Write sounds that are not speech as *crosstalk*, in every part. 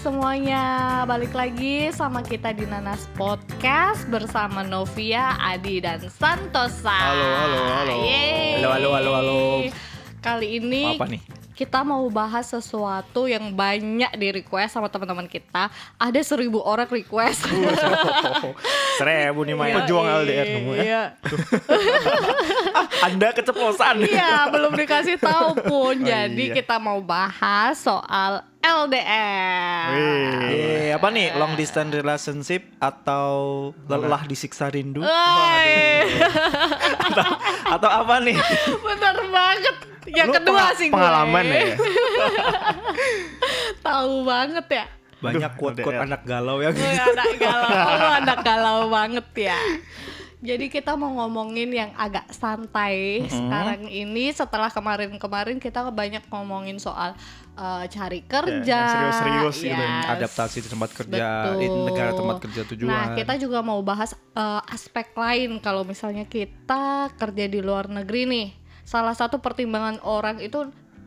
semuanya, balik lagi sama kita di Nanas Podcast bersama Novia, Adi, dan Santosa Halo, halo, halo. Yeay. Halo, halo, halo, halo. Kali ini Apa nih? kita mau bahas sesuatu yang banyak di request sama teman-teman kita Ada seribu orang request Oh, Seribu nih *laughs* Maya. Uh, Pejuang LDR kamu ya. Ah, Iya, Anda keceplosan. Iya, belum dikasih tahu pun. *laughs* Oh, Jadi iya. kita mau bahas soal LDR. Eh, Wih. apa nih long distance relationship atau lelah disiksa rindu Woi, atau apa nih? bener banget. *laughs* Yang Lu kedua penga- sih gue. Pengalaman ya. Tahu banget ya. Banyak Aduh, quote-quote LDR. anak galau ya. yang Gue Oh, ya, anak *laughs* galau, lu anak galau banget ya. Jadi kita mau ngomongin yang agak santai Mm-hmm. sekarang ini setelah kemarin-kemarin kita banyak ngomongin soal eh, Ya, cari kerja, yang serius-serius gitu ya. Yes. adaptasi di tempat Betul. kerja, di negara tempat kerja tujuan. Nah, kita juga mau bahas eh, aspek lain kalau misalnya kita kerja di luar negeri nih. Salah satu pertimbangan orang itu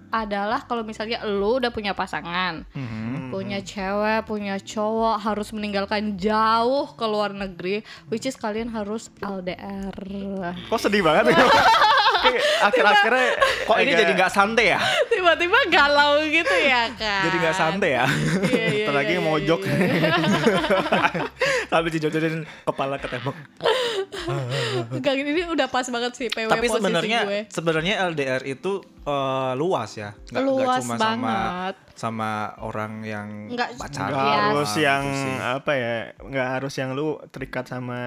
adalah kalau misalnya lu udah punya pasangan, Mm-hmm. punya cewek, punya cowok harus meninggalkan jauh ke luar negeri, which is kalian harus LDR. Kok sedih banget ya? Kayak Akhir-akhirnya Kok ini jadi nggak santai ya? *laughs* Tiba-tiba galau gitu ya kan? Jadi nggak santai ya? Iya, iya, Bentar lagi iya, iya, mojok. iya. *laughs* Tapi dijodohin kepala ketembak. Enggak, ini udah pas banget sih PW Tapi posisi gue. sebenarnya sebenarnya LDR itu eh, luas ya, nggak nggak Luas cuma banget. sama sama orang yang Nggak- pacaran. Nggak Iya. harus gitu yang sih. apa ya? Nggak harus yang lu terikat sama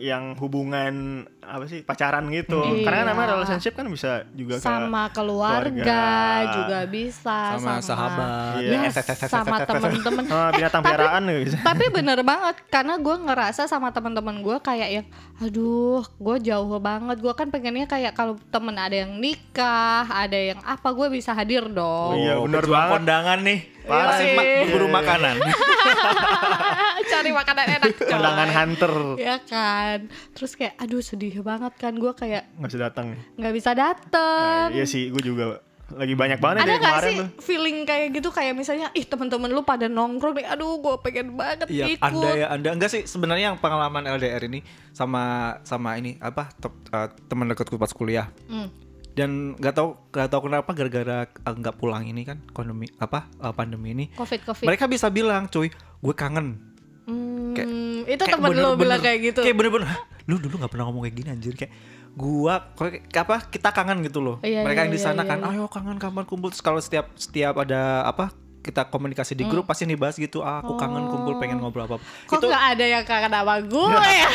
yang hubungan apa sih pacaran gitu. Iya. Karena nama relationship kan bisa juga ke- sama keluarga, keluarga. juga bisa sama, sahabat Iya. ya, *laughs* sama teman-teman Ah, binatang Tapi- piaraan juga bisa. *laughs* tapi bener banget karena gue ngerasa sama teman-teman gue kayak yang aduh gue jauh banget gue kan pengennya kayak kalau temen ada yang nikah ada yang apa gue bisa hadir Oh, dong iya, bener pejuang banget. kondangan nih Parah. pasti ma- Iya, berburu iya. *laughs* makanan Oh. cari makanan enak coy. Kondangan hunter ya kan terus kayak aduh sedih banget kan gue kayak nggak bisa datang. nggak bisa dateng Iya sih, gue juga lagi banyak ada banget dari gak kemarin sih tuh. feeling kayak gitu kayak misalnya ih teman-teman lu pada nongkrong nih aduh gue pengen banget iya ikut anda ya anda enggak sih sebenarnya yang pengalaman LDR ini sama sama ini apa te- eh, teman dekatku pas kuliah Hmm. dan nggak tahu nggak tahu kenapa gara-gara eh, nggak pulang ini kan pandemi apa eh, pandemi ini covid covid mereka bisa bilang cuy gue kangen Hmm, Kayak- itu Kayak temen lo bener-bener- bilang kayak gitu. kayak bener-bener "Hah, lu dulu nggak pernah ngomong kayak gini anjir kayak gua kayak apa kita kangen gitu loh Iya, mereka yang iya, di sana iya, kan iya. ayo kangen kapan kumpul Terus kalau setiap setiap ada apa kita komunikasi di grup pasti dibahas gitu ah, aku kangen kumpul pengen ngobrol apa, Mm. Oh. Kok itu nggak *laughs* ada yang kangen sama Iya. gue ya?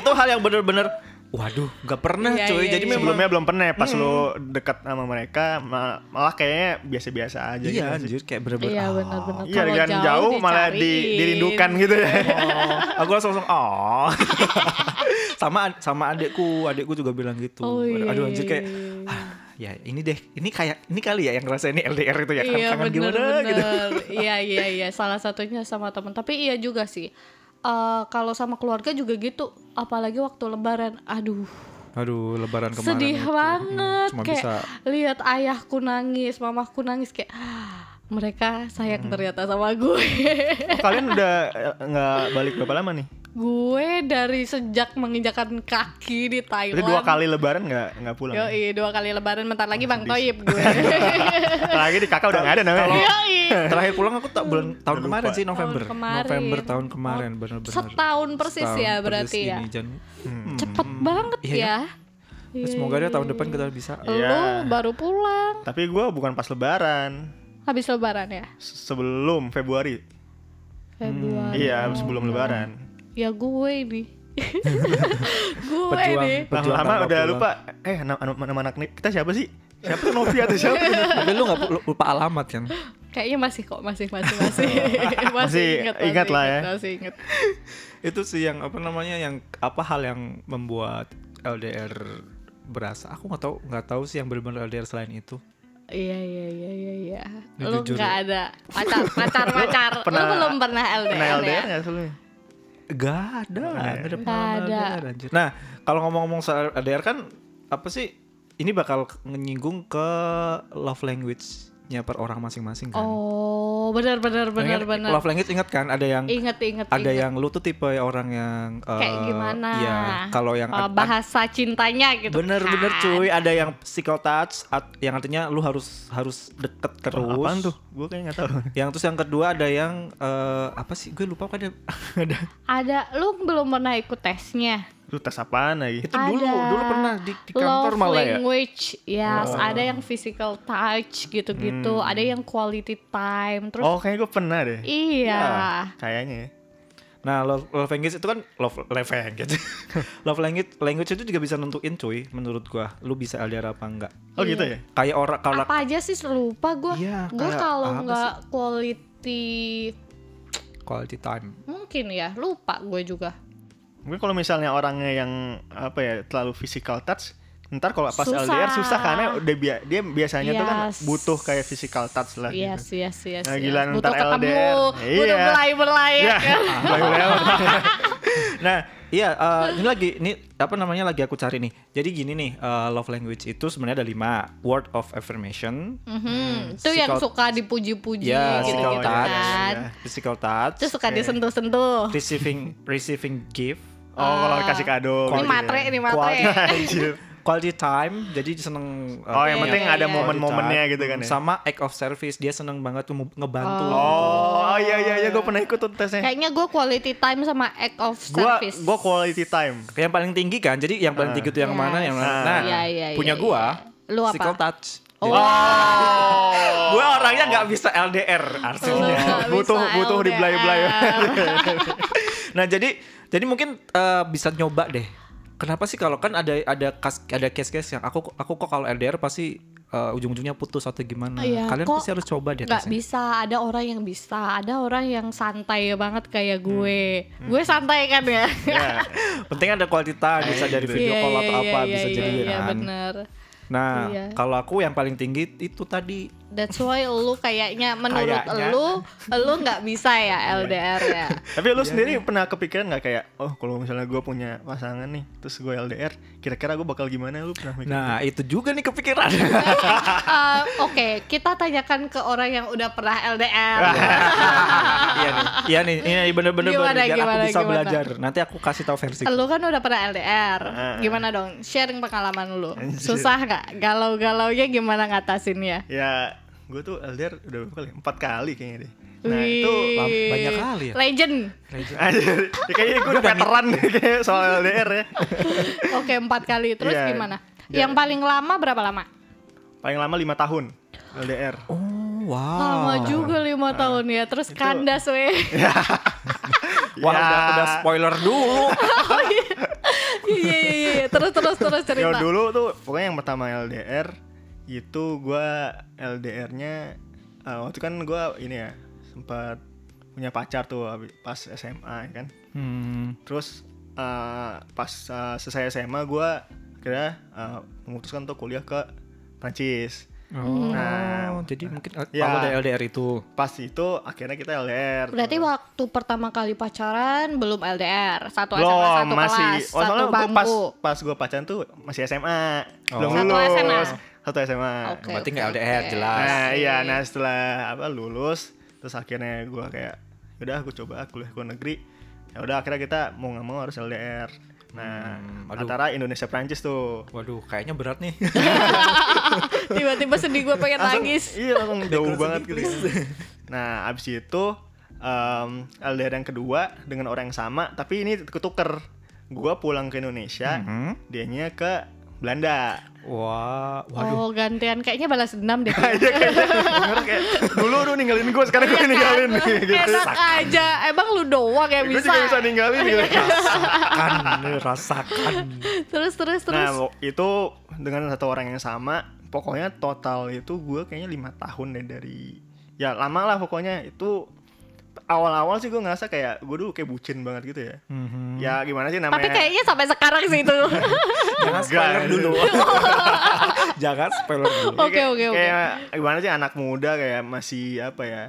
itu hal yang bener-bener waduh nggak pernah Iya, cuy iya, jadi iya. memang Sebelumnya belum pernah ya, pas lu dekat sama mereka ma- malah kayaknya biasa-biasa aja iya anjir gitu. sih. kayak *laughs* bener-bener Iya ah. benar-benar. Iya, Kalau dengan jauh, malah di, dicariin. dirindukan gitu ya. Oh, aku langsung langsung oh *laughs* sama ad- sama adekku adekku juga bilang gitu Oh, iya, aduh iya, anjir iya, kayak iya. "Ah, ya ini deh ini kayak ini kali ya yang ngerasa ini LDR itu ya kangen, Iya kangen bener gimana gitu bener. *laughs* Iya iya iya. Salah satunya sama temen. Tapi iya juga sih. Eh, kalau sama keluarga juga gitu. Apalagi waktu Lebaran. Aduh. aduh lebaran kemarin sedih itu. banget gitu. Hmm, cuma kayak bisa- lihat ayahku nangis, mamahku nangis kayak "Ah, mereka Hmm. sayang ternyata sama gue. *laughs* Oh, *laughs* kalian udah eh, nggak balik berapa lama nih? Gue dari sejak menginjakan kaki di Thailand. Berarti dua kali lebaran nggak nggak pulang. ya? Yoi, dua kali lebaran bentar Oh, lagi Bang Toyib *laughs* gue. Lagi di kakak udah nggak ada namanya. Yoi. terakhir pulang aku tak bulan tahun Udah kemarin lupa. sih November Tahun kemarin. Oh, November tahun kemarin bener-bener Setahun persis Setahun ya persis berarti ya. ini, Jan. Hmm. Hmm. Cepet banget Iya, ya. Iya. Ya, semoga deh tahun ya. depan kita bisa Iya. Lu baru pulang Tapi gue bukan pas lebaran, habis lebaran ya? Se- sebelum Februari. Hmm, Februari. Iya, sebelum lebaran. Ya gue ini. *laughs* gue Pejuang. ini. Lama-lama tanpa Nah, udah pulang. lupa. Eh, nama, nama, nama anak nih kita siapa sih? Siapa tuh Novi atau *laughs* siapa? tapi lu nggak pu- lupa alamat kan Kayaknya masih kok masih masih *laughs* masih Masih ingat lah ya. Masih ingat. itu sih yang apa namanya yang apa hal yang membuat LDR berasa aku nggak tahu nggak tahu sih yang benar-benar LDR selain itu Iya iya iya iya iya. Ini Lu jujur nggak ada pacar *laughs* pacar pacar. Lu Pernah- belum pernah LDR, Pernah ya? LDR nggak sebelumnya? Gak ada, nggak ada Nggak pengalaman ada. LDR, anjir. Nah, kalau ngomong-ngomong soal LDR kan apa sih? Ini bakal nyinggung ke love language language-nya per orang masing-masing kan. Oh, benar benar benar Ingat, benar. Love language ingat kan ada yang Ingat ingat ada ingat. yang lu tuh tipe orang yang eh, Kayak gimana? Iya, kalau yang Uh, ad- ad- bahasa cintanya gitu. Bener-bener kan. cuy, ada yang physical touch at- yang artinya lu harus harus deket terus. Terus. Apaan tuh? Gue kayaknya nggak tahu. Yang terus yang kedua ada yang eh, apa sih? Gue lupa kok ada *laughs* ada Ada lu belum pernah ikut tesnya. Lu tes apaan lagi? itu Kan dulu Ada dulu pernah di, di kantor Love malah ya. Oh. language, yes. Ada yang physical touch gitu-gitu, Hmm. ada yang quality time, terus Oh, kayaknya gue pernah deh. iya. Kayaknya ya. Nah, love, love language itu kan love love language. *laughs* love language language itu juga bisa nentuin cuy menurut gua. Lu bisa LDR apa enggak? Oh Iya. gitu ya? Kayak orang kalau Apa aja sih lupa gue. Iya, gue kayak apa kalau nggak quality quality time. mungkin ya lupa gue juga. Mungkin kalau misalnya orangnya yang apa ya terlalu physical touch, ntar kalau pas Susah. LDR susah karena udah bia- dia biasanya tuh kan Yes. butuh kayak physical touch lah. Iya sih, gitu. iya sih, iya Nah, sih. gila, Butuh ntar ketemu, LDR. butuh ya kan? Iya. mulai berlayar. Iya, *laughs* baru lewat. Nah, iya eh, ini lagi ini apa namanya lagi aku cari nih. Jadi gini nih, eh, love language itu sebenarnya ada lima word of affirmation, Mhm. Hmm, Itu yang Physical- suka dipuji-puji Iya, ya gitu, physical gitu touch, kan. physical touch, Terus suka ya. Oke. disentuh-sentuh. receiving receiving gift, Oh, kalau dikasih kado. Ah. Ini gitu matre, ya. ini matre. *laughs* Anjir. quality time. Jadi seneng. eh, Oh, yang Iya, penting iya, ada iya. momen-momennya quality time. gitu kan ya. Sama act of service, dia seneng banget tuh ngebantu. Oh, iya iya iya gue pernah ikut tuh tesnya. Kayaknya gue quality time sama act of Gua service. gua quality time. Yang paling tinggi kan, jadi yang paling tinggi itu yang Yes. mana? Yang mana? Ah. Nah, Iya, iya, punya iya, gua, iya. Lu apa? physical touch. Oh, Jadi, Gua orangnya nggak bisa LDR, lu artinya. nggak Butuh- bisa butuh LDR. dibelai-belai. Nah jadi jadi mungkin eh, bisa nyoba deh. Kenapa sih kalau kan ada ada kas, ada case-case yang aku aku kok kalau LDR pasti eh, ujung-ujungnya putus atau gimana. Iya, Kalian kok pasti harus coba deh. Nggak tesnya. bisa, ada orang yang bisa, ada orang yang santai banget kayak gue. Hmm. Gue santai kan ya. Ya. *laughs* Penting ada kualitas bisa dari video Iya, call iya, atau iya, apa iya, bisa iya, jadi Iya, kan. bener. Nah Iya. kalau aku yang paling tinggi itu tadi That's why lu kayaknya menurut Kayaknya. Iya. lu lu nggak bisa ya LDR *laughs* ya. Tapi lu sendiri pernah kepikiran nggak kayak, oh kalau misalnya gue punya pasangan nih, terus gue LDR, kira-kira gue bakal gimana? Lu pernah mikir? Nah itu juga nih kepikiran *laughs* Eh, Oke, kita tanyakan ke orang yang udah pernah LDR. Iya nih Iya nih Ini bener-bener Gimana, bener, Biar gimana, aku bisa gimana? belajar Nanti aku kasih tahu versi Lu kan udah pernah LDR. Ah, Heeh. Gimana dong? Sharing pengalaman lu. Anjir. Susah nggak? Galau-galaunya gimana ngatasinnya? Ya, gue tuh LDR udah berapa kali? Empat kali kayaknya deh. Nah itu, *laughs* Wih. ba- banyak kali ya. Legend. anjir, ya kayaknya gue udah veteran deh kayaknya soal LDR ya. Oke, empat kali. Terus Iya. gimana? Iya. Yang paling lama berapa lama? Paling lama lima tahun LDR. Oh wow Lama juga lima Ah. tahun ya. Terus kandas weh. Oh, Wah Ya. udah, udah spoiler dulu Iya iya iya. Terus terus terus Ya cerita. dulu tuh pokoknya yang pertama LDR itu gua LDR-nya eh, waktu kan gua ini ya sempat punya pacar tuh habi- pas SMA ya kan. Hmm. Terus eh, pas eh, selesai SMA gua kira eh, memutuskan untuk kuliah ke Prancis. Oh, Hmm. Nah, jadi mungkin Ya. awal dari LDR itu. Pas itu akhirnya kita LDR. Berarti waktu pertama kali pacaran belum LDR, satu SMA belum satu masih kelas, oh, satu soalnya gua pas bangku. pas gue pacaran tuh masih SMA Oh. belum Satu lulus SMA. satu SMA Oke, Nah, Berarti oke, nggak LDR, oke. jelas. nah iya nah setelah apa lulus terus akhirnya gue kayak yaudah gue coba kuliah ke luar negeri ya udah akhirnya kita mau nggak mau harus LDR nah Hmm, aduh. antara Indonesia Prancis tuh Waduh, kayaknya berat nih. Tiba-tiba sedih gue pengen nangis. iya *laughs* langsung jauh Background banget sedikit, gitu *laughs* nah abis itu em, LDR yang kedua dengan orang yang sama tapi ini ketuker gue pulang ke Indonesia dianya ke Belanda Wah, waduh. Oh gantian kayaknya balas dendam deh. *laughs* Iya kayaknya *laughs* bener kayak dulu lu ninggalin gue sekarang gue ninggalin gitu. Iya, kan? Enak aja, emang lu doang yang Gue bisa. juga bisa ninggalin gitu. Rasakan, kan, rasakan. Terus terus terus. Nah wo- itu dengan satu orang yang sama pokoknya total itu gue kayaknya lima tahun deh dari ya lama lah pokoknya itu awal-awal sih gue ngerasa kayak gue dulu kayak bucin banget gitu ya. Ya gimana sih namanya? Tapi kayaknya sampai sekarang sih *laughs* itu. Jangan spoiler Enggak. *laughs* dulu. Jangan spoiler dulu. gitu. Oke, Kayak- oke, oke. Kayak gimana sih anak muda kayak masih apa ya?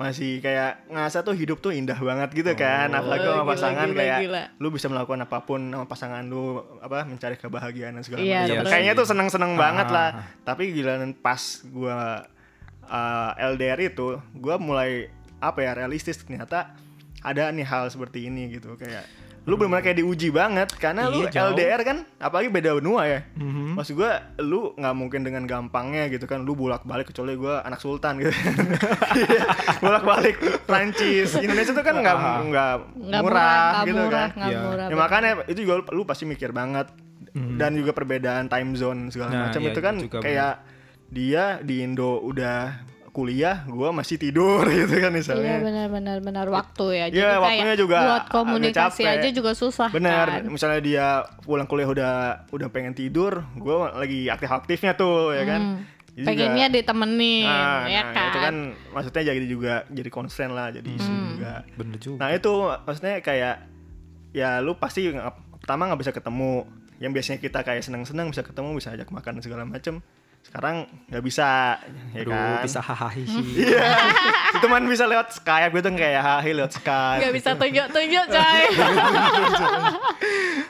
Masih kayak ngerasa tuh hidup tuh indah banget gitu kan. Apalagi sama Gila, pasangan gila, kayak gila. lu bisa melakukan apapun sama pasangan lu apa mencari kebahagiaan dan segala Iya, macam. betul. Kayaknya tuh seneng-seneng banget Ah. lah. Tapi gila pas gua eh, LDR itu gue mulai apa ya realistis ternyata ada nih hal seperti ini gitu kayak lu bener benar kayak diuji banget karena lu Iya, jauh. Mhm. LDR kan apalagi beda benua ya maksud gue lu nggak mungkin dengan gampangnya gitu kan lu bolak balik kecuali gue anak sultan gitu *laughs* bolak balik Prancis Indonesia tuh kan nggak Ah. nggak Nggak murah nggak gitu murah, kan nggak Iya. murah. Ya makanya itu juga lu, lu pasti mikir banget dan juga perbedaan time zone segala Hmm. Nah, macam iya, itu kan itu juga kayak dia di Indo udah kuliah, gua masih tidur *laughs* gitu Iya kan misalnya. benar-benar benar waktu ya. Iya, kayak waktunya juga buat komunikasi agak capek. aja juga susah Bener, kan. misalnya dia pulang kuliah udah udah pengen tidur, gua lagi aktif-aktifnya tuh ya kan. Jadi juga- Hmm. Pengennya ditemenin Nah, ya kan. nah, Hmm. itu kan maksudnya jadi juga jadi konsen lah, jadi isu juga. Bener juga. Nah itu maksudnya kayak ya lu pasti nggak- pertama nggak bisa ketemu. Yang biasanya kita kayak seneng-seneng bisa ketemu, bisa ajak makan segala macem. Sekarang nggak bisa, ya Aduh, kan? bisa hahaha. Iya. *laughs* itu man bisa lewat Skype gitu kayak hahi lewat Skype. Gak bisa tunjuk-tunjuk coy.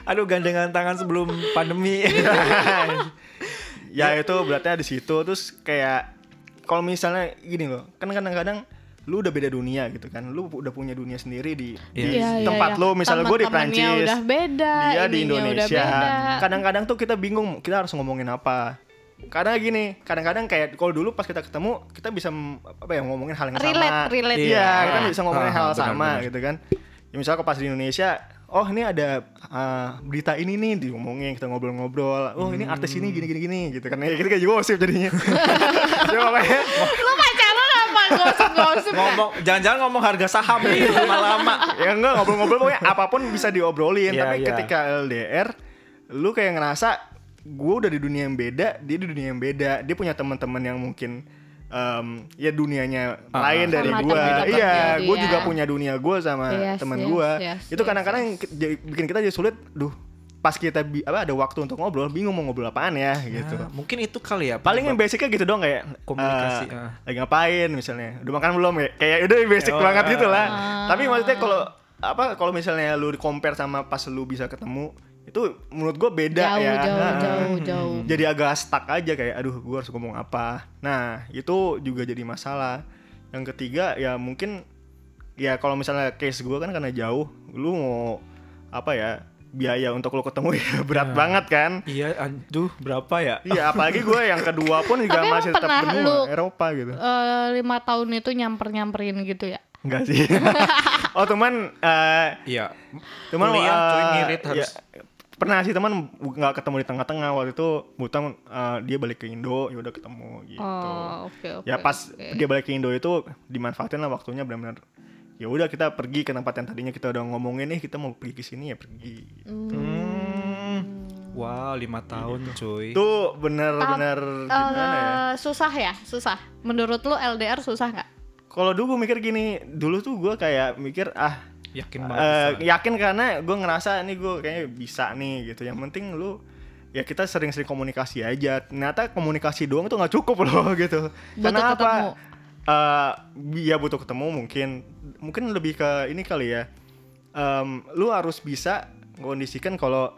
Aduh gandengan tangan sebelum *laughs* pandemi. *laughs* Iya. ya itu beratnya di situ terus kayak kalau misalnya gini loh, kan kadang-kadang lu udah beda dunia gitu kan. Lu udah punya dunia sendiri di, di *laughs* Iya, iya, tempat iya. lu, misalnya gue di Teman-temannya Prancis. udah beda, dia di ininya udah Indonesia. Kan beda. Kadang-kadang tuh kita bingung kita harus ngomongin apa. Karena gini, kadang-kadang kayak kalau dulu pas kita ketemu, kita bisa m- apa ya ngomongin hal yang Relate, sama. relate. Iya, Iya. kita bisa ngomongin Ah, hal benar, sama benar. gitu kan. Ya misalnya kalau pas di Indonesia, oh ini ada ah, berita ini nih diomongin, kita ngobrol-ngobrol. Oh ini artis ini gini-gini gini gitu kan. Ya, kita kayak gosip *laughs* jadinya. Ya, Jadi makanya Lu pacaran apa gosip-gosip? kan? ngomong jangan-jangan ngomong harga saham nih lama-lama. ya enggak ngobrol-ngobrol pokoknya apapun bisa diobrolin Iya, tapi iya. ketika LDR lu kayak ngerasa gue udah di dunia yang beda dia di dunia yang beda dia punya teman-teman yang mungkin em, ya dunianya lain dari Ah, Sama gue temen-temennya iya gue dia. juga punya dunia gue sama Yes, teman yes, gue yes, itu yes, kadang-kadang yang ke- jadi- bikin kita jadi sulit duh pas kita bi- apa ada waktu untuk ngobrol bingung mau ngobrol apaan ya gitu Nah, mungkin itu kali ya. paling yang basicnya gitu dong kayak Komunikasi, eh, ah. lagi ngapain misalnya udah makan belum ya kayak udah basic Oh, banget ah. gitu lah tapi maksudnya kalau apa kalau misalnya lu di compare sama pas lu bisa ketemu itu menurut gua beda Jauh, ya jauh, Nah, jauh, jauh. jadi agak stuck aja kayak aduh gua harus ngomong apa nah itu juga jadi masalah yang ketiga ya mungkin ya kalau misalnya case gua kan karena jauh lu mau apa ya biaya untuk lu ketemu *laughs* ya berat banget kan Iya, aduh berapa ya? Iya, apalagi gue yang kedua pun juga Tapi emang masih tetap pernah benua lu- Eropa gitu. *laughs* Eh, lima tahun itu nyamper-nyamperin gitu ya. Enggak sih. oh, teman eh Iya. teman Kuliah, eh, cuy, ngirit harus. ya, pernah sih teman bu- nggak ketemu di tengah-tengah waktu itu Butang eh, dia balik ke Indo ya udah ketemu gitu. Oh, oke oke. ya pas oke. dia balik ke Indo itu dimanfaatin lah waktunya benar-benar ya udah kita pergi ke tempat yang tadinya kita udah ngomongin nih kita mau pergi ke sini ya pergi Hmm. Wah, lima tahun Iya. cuy. itu benar-benar gimana ya Eh, susah ya, susah. Menurut lu LDR susah nggak? kalau dulu gue mikir gini dulu tuh gue kayak mikir ah Yakin Eh, banget. bisa. yakin karena gue ngerasa nih gue kayaknya bisa nih gitu yang penting lu ya kita sering-sering komunikasi aja ternyata komunikasi doang tuh nggak cukup loh *laughs* gitu Butuh karena ketemu. apa Eh, ya butuh ketemu mungkin mungkin lebih ke ini kali ya Em, lu harus bisa kondisikan kalau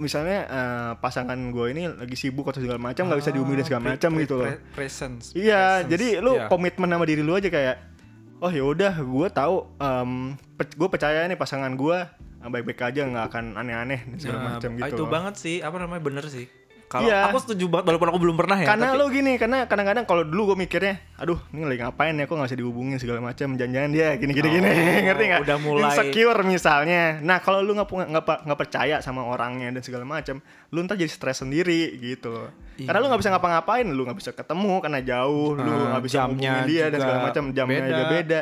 misalnya eh, pasangan gue ini lagi sibuk atau segala macam nggak bisa diumumin dan segala Ah, Pre- macam pre- gitu loh pre- presence. Iya, presence. jadi lu Iya. komitmen sama diri lu aja kayak oh ya udah gue tahu gue percaya nih pasangan gue baik-baik aja nggak akan aneh-aneh dan segala Nah, macam gitu. Itu loh. banget sih, apa namanya bener sih. Kalau Iya. aku setuju banget walaupun aku belum pernah ya. karena tapi- lu gini, karena kadang-kadang kalau dulu gue mikirnya, aduh ini lagi ngapain ya, kok nggak bisa dihubungin segala macam, jangan-jangan dia gini-gini gini, *laughs* ngerti nggak? Oh, udah mulai. Insecure misalnya. Nah kalau lu nggak pu- nggak pa- nggak percaya sama orangnya dan segala macam, lu ntar jadi stres sendiri gitu loh. Iya. Karena lu nggak bisa ngapa-ngapain, lu nggak bisa ketemu karena jauh, lu Ah, nggak bisa jamnya hubungin dia dan juga segala macam, jamnya beda. juga beda.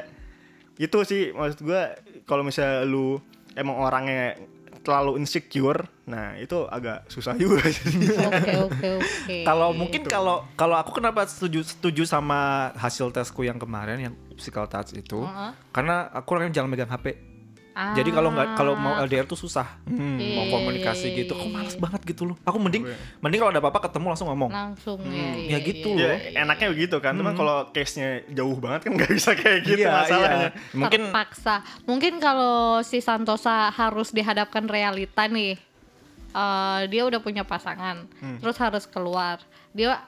Itu sih maksud gue, kalau misalnya lu emang orangnya terlalu insecure, nah itu agak susah juga sih. *laughs* Oke oke oke. Kalau mungkin kalau kalau aku kenapa setuju setuju sama hasil tesku yang kemarin yang physical touch itu Heeh. karena aku orangnya jangan megang HP. Ah. Jadi kalau nggak kalau mau LDR tuh susah Hmm, Iya, mau komunikasi iya, gitu. iya, Aku iya. males banget gitu loh. Aku mending Gue. mending kalau ada apa-apa ketemu langsung ngomong. langsung Hmm, ya. ya gitu. iya, Ya, enaknya begitu kan. Cuman kalau case-nya jauh banget kan *laughs* nggak bisa kayak gitu *laughs* Hmm. masalahnya. iya. Mungkin terpaksa. Mungkin kalau si Santosa harus dihadapkan realita nih. Eh, dia udah punya Hmm. pasangan, terus harus keluar. Dia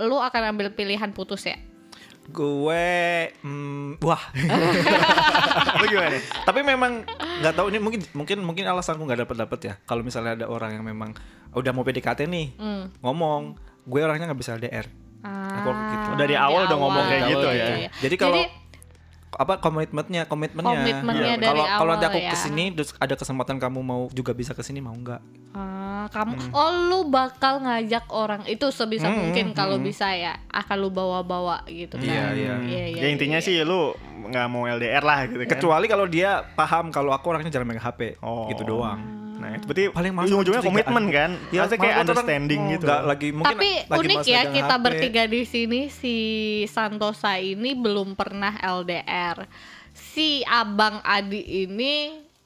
lu akan ambil pilihan putus ya. Gue mm, wah. *laughs* Lu gimana? Tapi memang nggak tahu ini mungkin mungkin mungkin alasanku nggak dapat dapat ya. Kalau misalnya ada orang yang memang "Oh, udah mau PDKT nih, Hmm. ngomong, gue orangnya nggak bisa LDR. Aku gitu. Ah, Dari di awal udah ngomong kayak awal, gitu iya, ya. iya. Jadi kalau apa komitmennya komitmennya Komitmennya Iya. dari kalau kalau nanti awal aku ya. kesini terus ada kesempatan kamu mau juga bisa kesini mau nggak ah, kamu oh lu bakal ngajak orang itu sebisa Hmm, mungkin hmm, kalau hmm. bisa ya akan lu bawa-bawa gitu kan. Iya, iya. ya intinya iya. sih lu nggak mau LDR lah gitu kan. kecuali kalau dia paham kalau aku orangnya jarang megang HP Oh. gitu doang Nah, itu berarti Paling males ujung-ujungnya kecurigaan. komitmen kan? malah Ya, kayak kebetulan understanding gitu. Oh. nggak lagi mungkin Tapi lagi unik males ya megang kita HP. bertiga di sini si Santosa ini belum pernah LDR. Si Abang Adi ini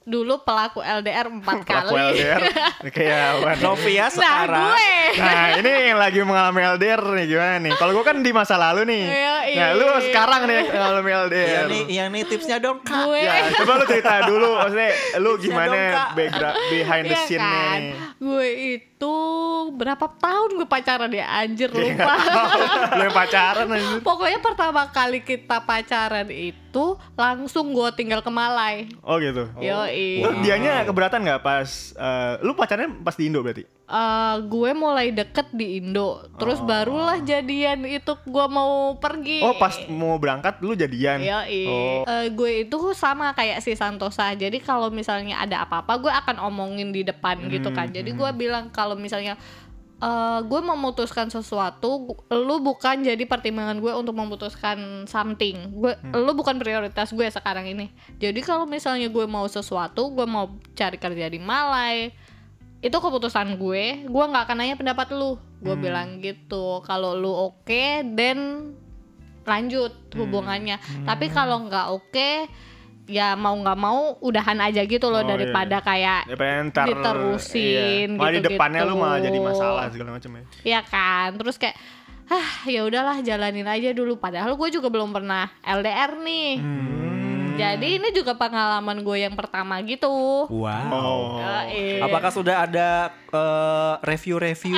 dulu pelaku LDR empat *laughs* Pelaku kali. *laughs* LDR kayak apa nih? Novia Nah, sekarang gue. Nah, ini yang lagi mengalami LDR nih gimana nih? Kalau gua kan di masa lalu nih. Yoi. Nah, lu sekarang nih yang mengalami Iya LDR. nih, iya nih tipsnya dong kak *laughs* Gue. Ya, coba lu cerita dulu maksudnya lu Tipsnya gimana dong, Kak. background behind the Iya scene-nya kan? nih. Gue itu berapa tahun gue pacaran ya anjir Iya. lupa. *laughs* lu yang pacaran anjir. Pokoknya pertama kali kita pacaran itu langsung gue tinggal ke Malai. Oh gitu. Iya. Yoi. Lu dianya keberatan nggak pas eh, lu pacarnya pas di Indo berarti? Eh, gue mulai deket di Indo, terus barulah jadian itu gue mau pergi. Oh, pas mau berangkat lu jadian. Yoi. Oh. Eh, gue itu sama kayak si Santosa. Jadi kalau misalnya ada apa-apa, gue akan omongin di depan Hmm, gitu kan. Jadi gue bilang kalau misalnya eh, gue memutuskan sesuatu, gu- lu bukan jadi pertimbangan gue untuk memutuskan something. Gue, Hmm. lu bukan prioritas gue sekarang ini. Jadi kalau misalnya gue mau sesuatu, gue mau cari kerja di Malai, itu keputusan gue. Gue nggak akan nanya pendapat lu. Gue bilang gitu. Kalau lu oke, then lanjut hubungannya. Tapi kalau nggak oke, ya mau nggak mau udahan aja gitu loh Oh, daripada kayak Ya pengen ntar Diterusin, iya. Malah di gitu-gitu. depannya lu malah jadi masalah segala macam ya. ya kan. Terus kayak ah ya udahlah jalanin aja dulu. Padahal gue juga belum pernah LDR nih. Hmm. Jadi ini juga pengalaman gue yang pertama gitu. wow Oh. Yoi. apakah sudah ada eh, *laughs* review-review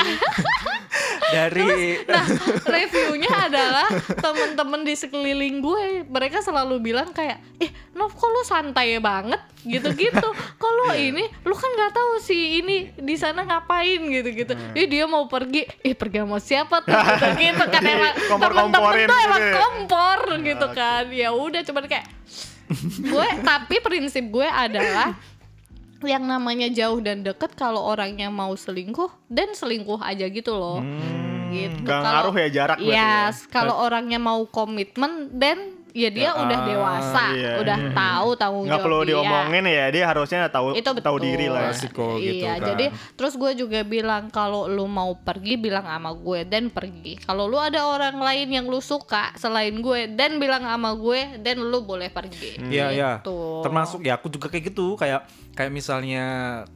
dari Nah, reviewnya adalah temen-temen di sekeliling gue, mereka selalu bilang kayak, "Ih, Nov kok lu santai banget?" *laughs* gitu-gitu. "Kok lu Iya. ini, lu kan nggak tahu si ini di sana ngapain?" gitu-gitu. Hmm. "Ih, dia mau pergi. Ih, pergi sama siapa tuh?" gitu-gitu *laughs* kan emang temen-temen tuh Kompor-komporin gitu emang ya. kompor gitu kan. Ya udah cuman kayak gue tapi prinsip gue adalah *laughs* yang namanya jauh dan deket kalau orangnya mau selingkuh dan selingkuh aja gitu loh gitu Hmm, Nggak ngaruh ya jarak berarti yes kalau orangnya mau komitmen dan ya dia udah dewasa Ah, iya, udah tahu tanggung Nggak perlu jawab dia diomongin ya, dia harusnya tahu itu betul. tahu diri lah. Ya. Resiko gitu iya kan. jadi terus gue juga bilang kalau lu mau pergi bilang sama gue dan pergi kalau lu ada orang lain yang lu suka selain gue dan bilang sama gue dan lu boleh pergi Iya iya. Gitu. Termasuk ya aku juga kayak gitu kayak kayak misalnya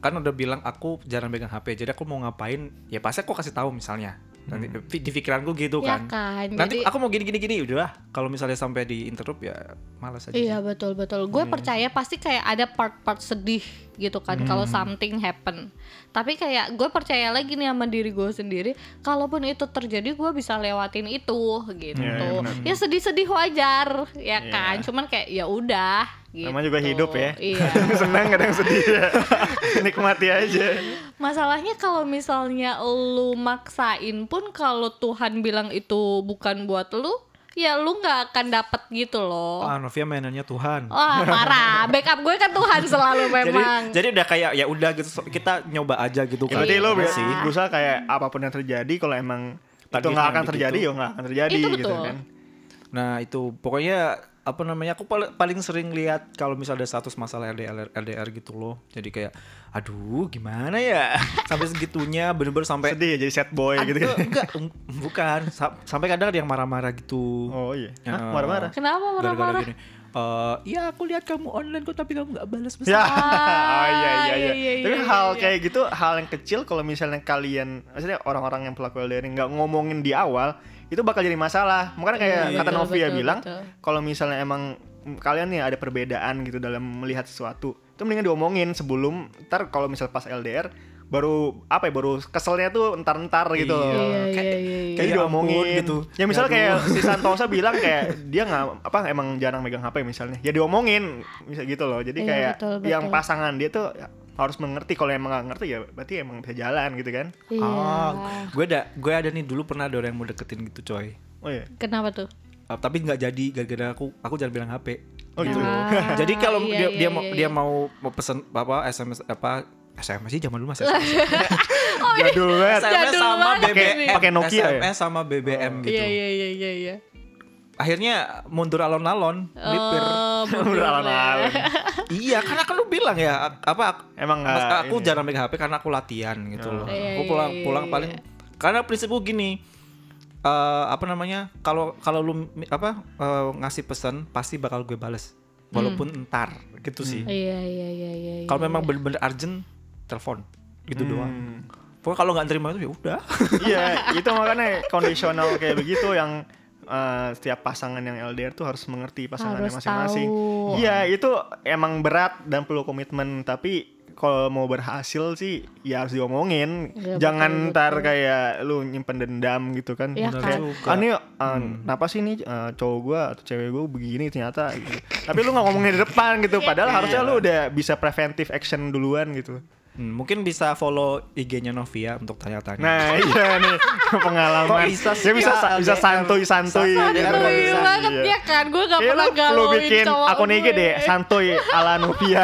kan udah bilang aku jarang pegang HP jadi aku mau ngapain ya pasti aku kasih tahu misalnya nanti di- di pikiranku gitu Ya kan. Hmm. kan, Nanti jadi- aku mau gini gini gini udah kalau misalnya sampai di interrupt ya malas aja. Iya betul betul. Gue Hmm. percaya pasti kayak ada part-part sedih gitu kan kalau Hmm. something happen. Tapi kayak gue percaya lagi nih sama diri gue sendiri. Kalaupun itu terjadi gue bisa lewatin itu gitu. Iya, iya, benar. Iya. ya sedih-sedih wajar ya kan. Cuman kayak ya udah. Gitu. Namanya juga hidup ya. Iya. *laughs* Senang kadang sedih *laughs* ya. Nikmati aja. Masalahnya kalau misalnya lu maksain pun kalau Tuhan bilang itu bukan buat lu, ya lu nggak akan dapet gitu loh. Ah Novia mainannya Tuhan. Wah parah, backup gue kan Tuhan *laughs* selalu Jadi memang. jadi udah kayak ya udah gitu so- kita nyoba aja gitu Ya, kan. berarti lo Iya. sih berusaha kayak apapun yang terjadi kalau emang itu Takdirnya nggak akan begitu. terjadi ya nggak akan terjadi Itu gitu betul. kan. Nah itu pokoknya apa namanya aku pal- paling sering lihat kalau misalnya ada status masalah LDR LDR gitu loh. Jadi kayak aduh gimana ya *laughs* sampai segitunya bener-bener sampai Sedih ya jadi sad boy *laughs* gitu. Aduh, enggak, em- bukan. Sa- sampai kadang ada yang marah-marah gitu. Oh iya. Ya. Hah, marah-marah. Kenapa Gara-gara marah-marah? gini. "Eh, iya aku lihat kamu online kok tapi kamu nggak balas pesan. Ya, Ah, *laughs* oh, iya, iya, iya, iya. iya, Tapi iya, hal iya. kayak gitu, hal yang kecil kalau misalnya kalian, maksudnya orang-orang yang pelaku LDR nggak ngomongin di awal, itu bakal jadi masalah. Makanya kayak Iya, kata betul, Novia betul, bilang, betul. kalau misalnya emang kalian nih ada perbedaan gitu dalam melihat sesuatu, itu mendingan diomongin sebelum, ntar kalau misal pas LDR, baru apa ya baru keselnya tuh entar-entar gitu loh. Iya, iya, iya, iya. Kayak Ya diomongin ampun, gitu. gitu. Ya Ya, misalnya kayak si *laughs* Santosa bilang kayak dia nggak apa emang jarang megang HP misalnya. Ya diomongin bisa gitu loh. Jadi Iya, kayak betul, betul. yang pasangan dia tuh ya harus mengerti kalau emang nggak ngerti ya berarti emang bisa jalan gitu kan. Iya. Oh, gue ada gue ada nih dulu pernah ada orang yang mau deketin gitu coy. Oh iya. Kenapa tuh? Uh, tapi nggak jadi gara-gara aku aku jarang bilang HP. Oh gitu. Ah, *laughs* jadi kalau iya, iya, dia dia mau iya, dia iya. mau mau pesen apa SMS apa SMS sih zaman dulu masih SMS. Oh, iya. Jadul banget. SMS Jadul sama banget BBM, ini. Pakai Nokia ya? SMS sama BBM gitu. Iya iya iya iya iya. Akhirnya mundur alon-alon, melipir. Oh, bener. Udah lama-lama. iya, karena kan lu bilang ya apa Emang nggak Mas, aku ini. jarang megang HP karena aku latihan gitu loh. Iya, aku iya, pulang iya, pulang iya. paling karena prinsip gue gini. eh, apa namanya? Kalau kalau lu mi- apa eh, ngasih pesan pasti bakal gue bales walaupun entar gitu sih. Hmm. Iya iya iya iya. Kalau iya. memang bener-bener urgent telepon gitu doang. Hmm. Pokoknya kalau nggak terima itu ya udah. Iya, itu makanya kondisional kayak begitu yang eh, setiap pasangan yang LDR tuh harus mengerti pasangannya Harus masing-masing. tahu. Iya, itu emang berat dan perlu komitmen, tapi kalau mau berhasil sih ya harus diomongin. Iya, Jangan betul, ntar betul. kayak lu nyimpen dendam gitu kan. *laughs* Iya Kayak, kan. "Ah, ini eh, kenapa sih nih eh, cowok gua atau cewek gua begini ternyata gitu. Tapi lu nggak ngomongin di depan Iya. gitu, padahal harusnya lu udah bisa preventive action duluan gitu. Hmm, mungkin bisa follow IG-nya Novia untuk tanya-tanya. Nah iya nih *laughs* pengalaman. Kok bisa sih? Dia bisa Ya, bisa LDR. santuy santuy. Santuy gitu. banget Iya banget Iya. ya kan, gue gak Kayaknya pernah lu, lu galauin bikin cowok eh. akun IG gue. deh gitu. santuy ala *laughs* Novia.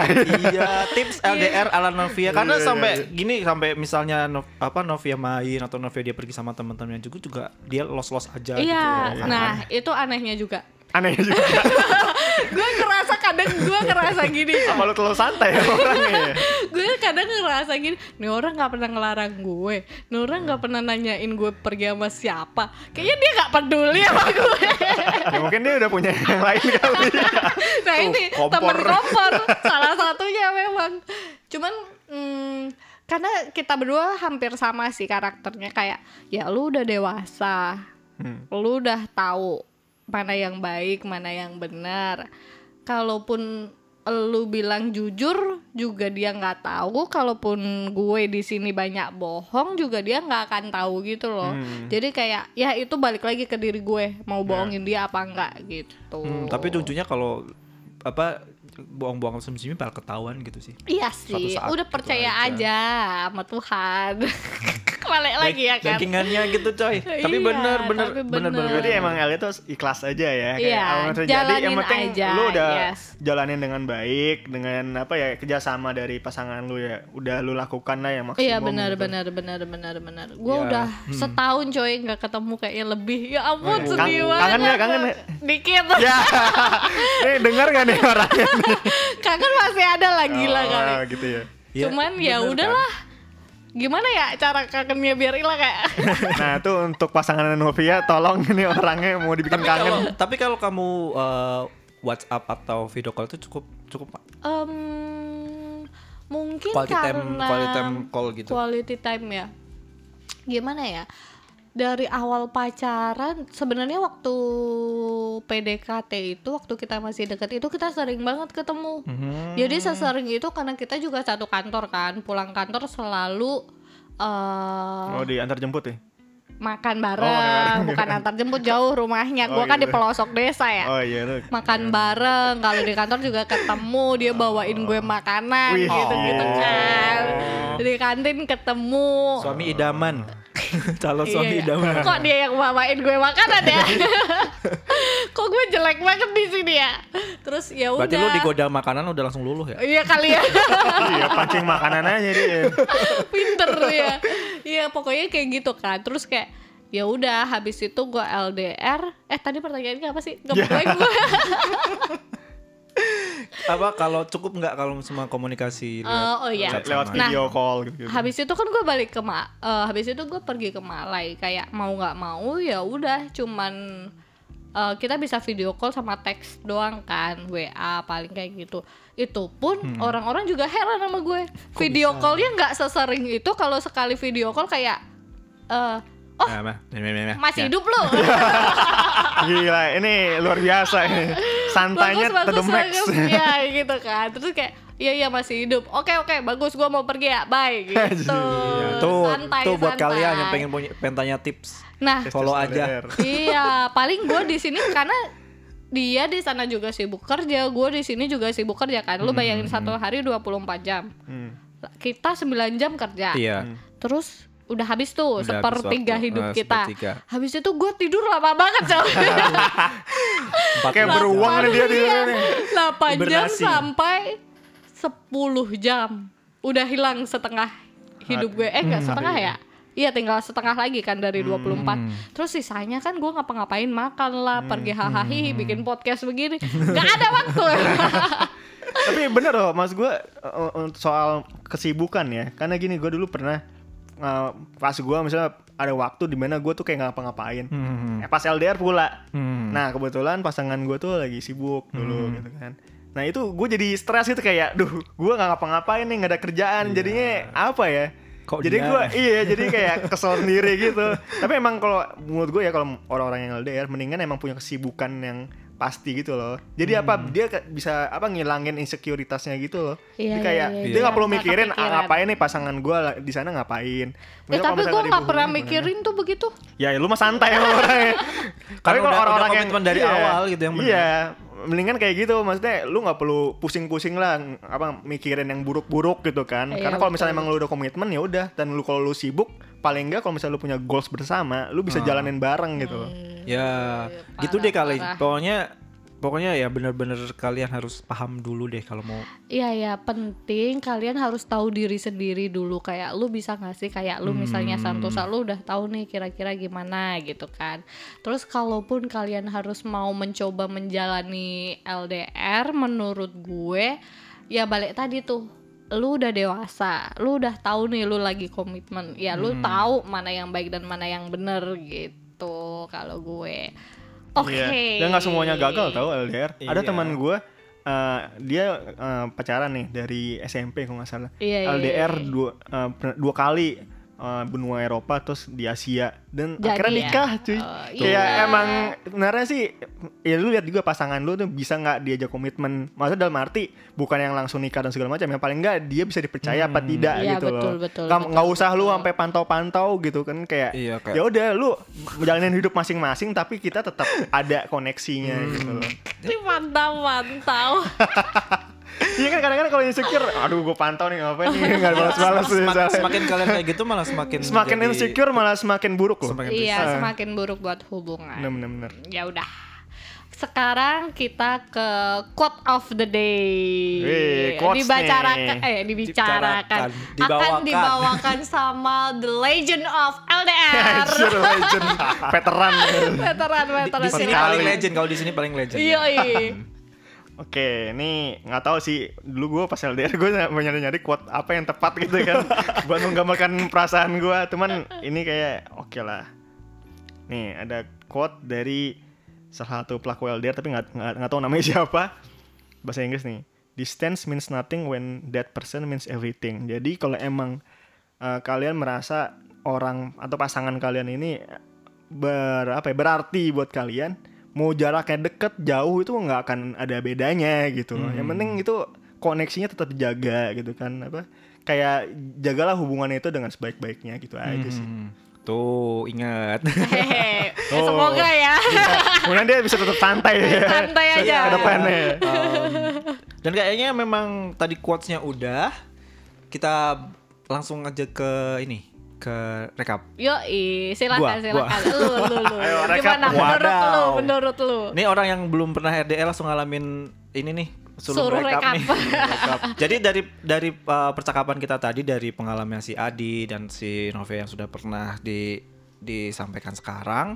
iya, tips LDR ala Novia. Karena Iya, iya, sampai iya. gini sampai misalnya Nov- apa Novia main atau Novia dia pergi sama teman-temannya juga juga dia los-los aja Iya, gitu. nah itu anehnya juga. Aneh juga. Gue ngerasa kadang gue ngerasa gini. Apa lu terlalu santai ya orangnya ya? gue kadang ngerasa gini, nih orang nggak pernah ngelarang gue, nih orang nggak pernah nanyain gue pergi sama siapa. Kayaknya dia nggak peduli sama gue. Ya, mungkin dia udah punya yang lain kali. nah Tuh, ini kompor. teman kompor salah satunya memang cuman mm, karena kita berdua hampir sama sih karakternya kayak ya lu udah dewasa lu udah tahu mana yang baik mana yang benar kalaupun lu bilang jujur juga dia nggak tahu kalaupun gue di sini banyak bohong juga dia nggak akan tahu gitu loh jadi kayak ya itu balik lagi ke diri gue mau bohongin dia apa enggak gitu Hmm, tapi ujungnya kalau apa bohong-bohong sembunyi bakal ketahuan gitu sih. Iya Suatu sih, saat udah gitu percaya aja. aja. sama Tuhan. *laughs* Balik lagi ya kan. Backingannya gitu *laughs* coy. tapi Iya, bener bener tapi bener bener. bener. Jadi emang LDR tuh ikhlas aja ya. kayak Iya, apa yang terjadi yang jalanin penting aja, lu udah yes. jalanin dengan baik dengan apa ya kerjasama dari pasangan lu ya udah lu lakukan lah yang maksimum. Iya benar gitu. benar benar benar benar. Gue Ya, udah setahun coy nggak ketemu kayaknya lebih. Ya ampun Aduh. Kan- sedih Kangen- banget. kangen nggak, kangen nggak? Dikit. Iya. Ya. *laughs* Nih denger gak nih orangnya? *laughs* kangen masih ada lah gila Oh, kali. gitu ya. Iya, Cuman ya bener kan? udahlah. Gimana ya cara kangennya biar hilang kayak. *laughs* Nah itu untuk pasangan Novia tolong ini orangnya mau dibikin Tapi kangen. kalau- Tapi kalau kamu eh, WhatsApp atau video call itu cukup cukup Em, mungkin Quality time- karena quality time call gitu. quality time ya gimana ya dari awal pacaran sebenarnya waktu PDKT itu waktu kita masih dekat itu kita sering banget ketemu Hmm. jadi sesering itu karena kita juga satu kantor kan pulang kantor selalu eh, Oh, Mau diantar jemput ya? makan makan bareng bukan antar jemput jauh rumahnya gua Oh, kan di gitu. pelosok desa ya Oh iya *laughs* tuh. makan bareng kalau di kantor juga ketemu dia bawain gue makanan Wih. gitu gitu Oh. kan di kantin ketemu suami idaman. *laughs* Calon suami Iya, idaman. ya. kok dia yang bawain gue makanan ya kok gue jelek banget di sini ya terus ya udah Berarti lu digoda makanan udah langsung luluh ya? iya kali ya Iya pancing makanan aja dia. pinter ya iya pokoknya kayak gitu kan terus kayak ya udah habis itu gue LDR eh tadi pertanyaannya apa sih Ngeblank gue Apa kalau cukup nggak kalau semua komunikasi Eh, oh iya. WhatsApp Lewat sama- Nah, video call gitu. habis itu kan gue balik ke ma eh, habis itu gue pergi ke Malai kayak mau nggak mau ya udah cuman eh, kita bisa video call sama teks doang kan WA paling kayak gitu itu pun Hmm. orang-orang juga heran sama gue video callnya nggak sesering itu kalau sekali video call kayak eh, oh Nah, mah. Nah, nah, nah, nah. masih Ya. hidup *laughs* lo Gila *laughs* ini luar biasa ini. ya. Santainya to the max. *laughs* bagus ya gitu kan terus kayak iya iya masih hidup oke oke bagus gua mau pergi ya *laughs* bye gitu iya. Tuh, santai tuh buat santai. kalian yang pengen punya pengen tanya tips. nah Follow aja. LDR. iya paling gue di sini karena dia di sana juga sibuk kerja gue di sini juga sibuk kerja kan Hmm, lu bayangin satu hari 24 jam Hmm. kita 9 jam kerja Iya. terus udah habis tuh Udah habis sepertiga waktu. hidup Eh, kita sepertiga. habis itu gue tidur lama banget coy *laughs* Empat Kayak jam. beruang nih dia Iya, tidurnya nih. 8 jam Hibernasi. sampai 10 jam udah hilang setengah hidup gue eh Hmm. enggak setengah ya Iya tinggal setengah lagi kan dari 24 Terus sisanya kan gue ngapa-ngapain makan lah Hmm. Pergi hahahi bikin podcast begini Gak ada *laughs* waktu Eh, tapi bener loh mas gue uh, uh, soal kesibukan ya karena gini gue dulu pernah uh, pas gue misalnya ada waktu di mana gue tuh kayak nggak ngapa-ngapain Hmm. eh, pas LDR pula Hmm. nah kebetulan pasangan gue tuh lagi sibuk dulu gitu kan nah itu gue jadi stres gitu kayak duh gue nggak ngapa-ngapain nih nggak ada kerjaan jadinya apa ya Iya. Kok jadi dia? gue iya jadi kayak kesel sendiri gitu tapi emang kalau menurut gue ya kalau orang-orang yang LDR mendingan emang punya kesibukan yang pasti gitu loh jadi apa Hmm. dia ke- bisa apa ngilangin insecuritasnya gitu loh Iya, Jadi kayak iya, iya, dia iya. nggak perlu Nggak mikirin ah, kepikiran. ngapain nih pasangan gue di sana ngapain Eh tapi Misalnya kalau misalnya gue tadi gak Bu pernah Huni gimana? mikirin tuh begitu Ya lu mah santai ya. emang orangnya. *laughs* Karena udah- udah komitmen dari iya, awal gitu yang benar. Iya, mendingan kayak gitu maksudnya lu nggak perlu pusing-pusing lah ng- apa mikirin yang buruk-buruk gitu kan. Iya, Karena kalau betul. misalnya emang lu udah komitmen ya udah dan lu kalau lu sibuk paling enggak kalau misalnya lu punya goals bersama, lu Hmm. bisa jalanin bareng gitu loh. Hmm. Ya, Parah, gitu deh kali. parah. Pokoknya pokoknya ya bener-bener kalian harus paham dulu deh kalau *laughs* mau Iya ya penting kalian harus tahu diri sendiri dulu kayak lu bisa nggak sih kayak lu misalnya Hmm. Santosa lu udah tahu nih kira-kira gimana gitu kan. Terus kalaupun kalian harus mau mencoba menjalani LDR menurut gue ya balik tadi tuh lu udah dewasa, lu udah tahu nih lu lagi komitmen. Ya lu Hmm. tahu mana yang baik dan mana yang bener gitu kalau gue. Oke. Iya. Dan nggak semuanya gagal tau LDR. Ada Iya. teman gue eh, dia eh, pacaran nih dari SMP kalau nggak salah. Iya, iya, LDR iya. dua eh, per- dua kali eh, benua Eropa terus di Asia dan Jadi akhirnya ya. nikah cuy. Oh, Kayak iya. emang sebenarnya sih ya lu lihat juga pasangan lu tuh bisa nggak diajak komitmen. Maksudnya dalam arti bukan yang langsung nikah dan segala macam ya paling nggak dia bisa dipercaya apa Hmm. tidak Iya, gitu betul, loh. betul, Nggak- betul, nggak usah lu sampai pantau-pantau gitu kan kayak Iya, kayak- ya udah lu jalanin hidup masing-masing tapi kita tetap ada koneksinya gitu Hmm. loh. Mantap, mantap. Iya kan kadang-kadang kalau insecure, aduh gue pantau nih ngapain nih *laughs* nggak balas-balas nih, Semakin, misalnya. semakin kalian kayak gitu malah semakin Semakin jadi- insecure malah semakin buruk loh. Semakin Iya, bisa. semakin buruk buat hubungan. Bener bener bener. Ya udah. Sekarang kita ke quote of the day. Wih, quotes dibicarakan nih. eh dibicarakan Dibicarakan, akan dibawakan. dibawakan sama The Legend of LDR. Anjir, *laughs* legend. Veteran. veteran Di, veteran. di sini Sekali. paling legend kalau di sini paling legend. ya. Iya, iya. Oke, nih nggak tahu sih dulu gue pas LDR gue nyari-nyari quote apa yang tepat gitu *laughs* kan buat menggambarkan perasaan gue. Cuman ini kayak oke lah. Nih ada quote dari salah satu pelaku LDR tapi nggak nggak nggak tahu namanya *laughs* siapa. Bahasa Inggris nih. Distance means nothing when that person means everything. Jadi kalau emang eh, kalian merasa orang atau pasangan kalian ini ber apa ya, berarti buat kalian, mau jaraknya deket jauh itu nggak akan ada bedanya gitu. loh. Yang penting itu koneksinya tetap dijaga gitu kan apa kayak jagalah hubungan itu dengan sebaik-baiknya gitu aja sih. Hmm. Tuh, ingat. *laughs* Hehehe. Oh. Semoga ya. Kemudian dia bisa tetap santai ya. Iya, Santai aja. Ke Um, depannya. Iya. *laughs* dan kayaknya memang tadi quotes-nya udah kita langsung aja ke ini ke rekap. Yoi, silakan Gua, silakan. Lu lu lu. Ayo, rekap. Gimana menurut lu? Wadaw. Menurut lu? Ini orang yang belum pernah RDL langsung ngalamin ini nih suruh, Suruh rekap, rekap. nih. *laughs* Rekap. Jadi dari dari uh, percakapan kita tadi dari pengalaman si Adi dan si Nove yang sudah pernah di disampaikan sekarang,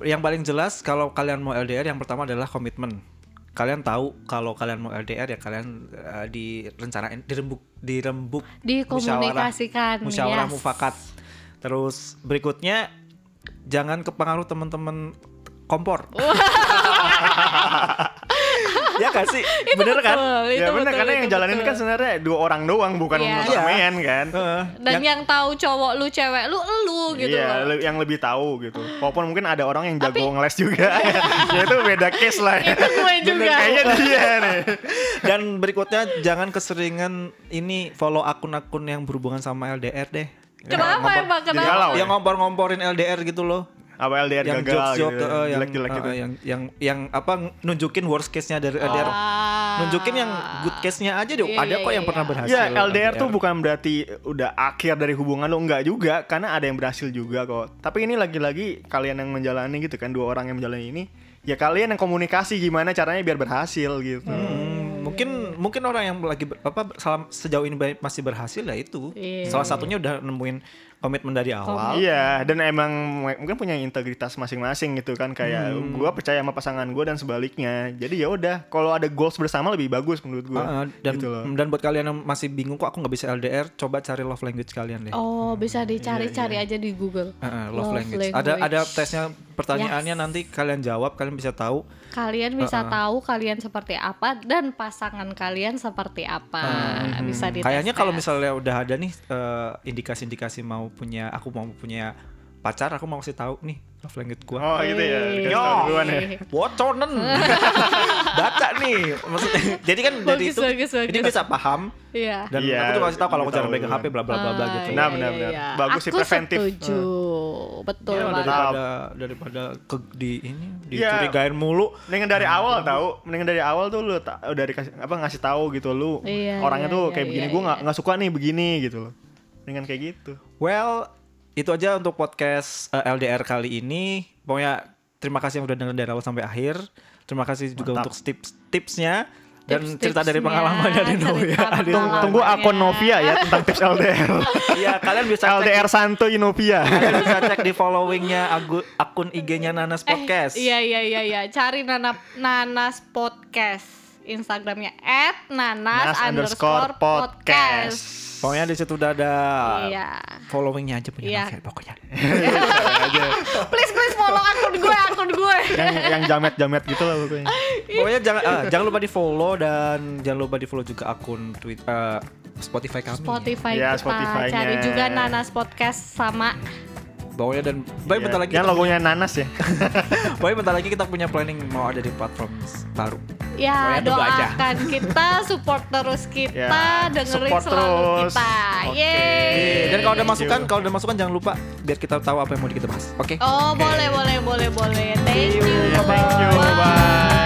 yang paling jelas kalau kalian mau LDR yang pertama adalah komitmen. Kalian tahu kalau kalian mau LDR ya kalian uh, direncanain dirembuk dirembuk Dikomunikasikan, musyawarah, musyawarah yes. mufakat. Terus berikutnya jangan kepengaruh teman-teman kompor. ya gak sih? *laughs* Itu Bener kan? Iya, betul, itu ya benar betul, karena itu yang jalanin betul. kan sebenarnya dua orang doang bukan Iya. yeah. Iya. ramean kan. Heeh. dan yang, tahu cowok lu cewek lu lu gitu iya, loh le- yang lebih tahu gitu. Walaupun mungkin ada orang yang jago Tapi- Iya. ngeles *laughs* juga. ya itu beda case lah. ya. itu gue juga Kayaknya dia nih. Dan berikutnya jangan keseringan ini follow akun-akun yang berhubungan sama LDR deh. kenapa Yang emang kenapa galau. Yang ngompor-ngomporin LDR gitu loh. Apa LDR yang gagal jokes gitu. jokes eh, yang Jelek-jelek eh, gitu. yang yang yang apa nunjukin worst case-nya dari LDR. Ah. Nunjukin yang good case-nya aja deh. Iya, Ada kok iya, yang pernah iya. berhasil. Ya LDR tuh bukan berarti udah akhir dari hubungan lo enggak juga karena ada yang berhasil juga kok. Tapi ini lagi-lagi kalian yang menjalani gitu kan dua orang yang menjalani ini ya kalian yang komunikasi gimana caranya biar berhasil gitu. Hmm, mungkin mungkin orang yang lagi ber- apa salam- sejauh ini ba- masih berhasil ya itu. Iya. Salah satunya udah nemuin komitmen dari awal. Iya, dan emang mu- mungkin punya integritas masing-masing gitu kan kayak Hmm. gua percaya sama pasangan gua dan sebaliknya. Jadi ya udah, kalau ada goals bersama lebih bagus menurut gua. Ah, dan gitu loh. dan buat kalian yang masih bingung kok aku nggak bisa LDR, coba cari love language kalian deh. oh bisa dicari-cari aja di Google Ah, ah, Iya, love, language. Ada ada tesnya pertanyaannya nanti kalian jawab, kalian bisa tahu. kalian bisa tahu kalian seperti apa dan pasangan kalian seperti apa bisa dites Ah, hmm. Kayaknya kalau tes. misalnya udah ada nih eh, indikasi-indikasi mau punya aku mau punya pacar, aku mau kasih tahu nih love language gua. Oh gitu ya. dikasih Iya. Yo. tahu duluan ya. *laughs* Woconen Baca nih Maksudnya Jadi kan dari Bagus, itu bagus, bagus. Ini bisa paham iya Dan Iya, aku juga kasih tahu Kalau aku tahu jarang pegang dulu. HP bla bla bla bla Ah, gitu iya, Nah, iya, benar-benar. iya. Bagus sih, Aku preventif. setuju betul Ya, banget daripada daripada ke di ini Iya. dicurigain mulu Nah, Mendingan dari awal tahu, mendingan dari awal tuh lu ta- udah dikasih apa ngasih tahu gitu lu. Iya, orangnya iya, tuh iya, kayak begini, iya, gua nggak nggak suka nih begini gitu loh. Dengan kayak gitu. Well itu aja untuk podcast eh, LDR kali ini Pokoknya terima kasih yang udah dengerin dari awal sampai akhir Terima kasih juga Mantap. untuk tips-tipsnya dan Tips-tipsnya, cerita dari ya. pengalaman dari cerita Novia. Adit. Tung- Pengalamannya. tunggu akun Novia ya tentang tips *laughs* LDR. *laughs* Iya, kalian bisa cek LDR Santuy Novia. Kalian bisa cek di followingnya agu- akun IG-nya Nanas Podcast. Eh, iya iya iya iya. Cari Nana, Nanas Podcast. Instagramnya at nanas, Nas underscore underscore podcast. Pokoknya di situ udah ada Iya. followingnya aja punya Iya. Novel *laughs* pokoknya. Please please follow akun gue akun gue. yang yang jamet-jamet gitu lah pokoknya. pokoknya jangan ah, jangan lupa di follow dan jangan lupa di follow juga akun Twitter Spotify kami. Spotify Iya, kita Spotify-nya. cari juga Nanas Podcast sama Pokoknya dan baik bentar lagi. Yang kita- logonya nanas ya. Pokoknya bentar lagi kita punya planning mau ada di platform baru. ya Pokoknya tunggu aja. doakan *laughs* kita support terus kita Ya, dengerin support selalu terus. kita. Oke. Yeay. Dan kalau ada Eh, Thank masukan, you. kalau ada masukan jangan lupa biar kita tahu apa yang mau kita bahas. Oke. Iya, Oh boleh boleh boleh boleh. Thank you. Thank you. Bye.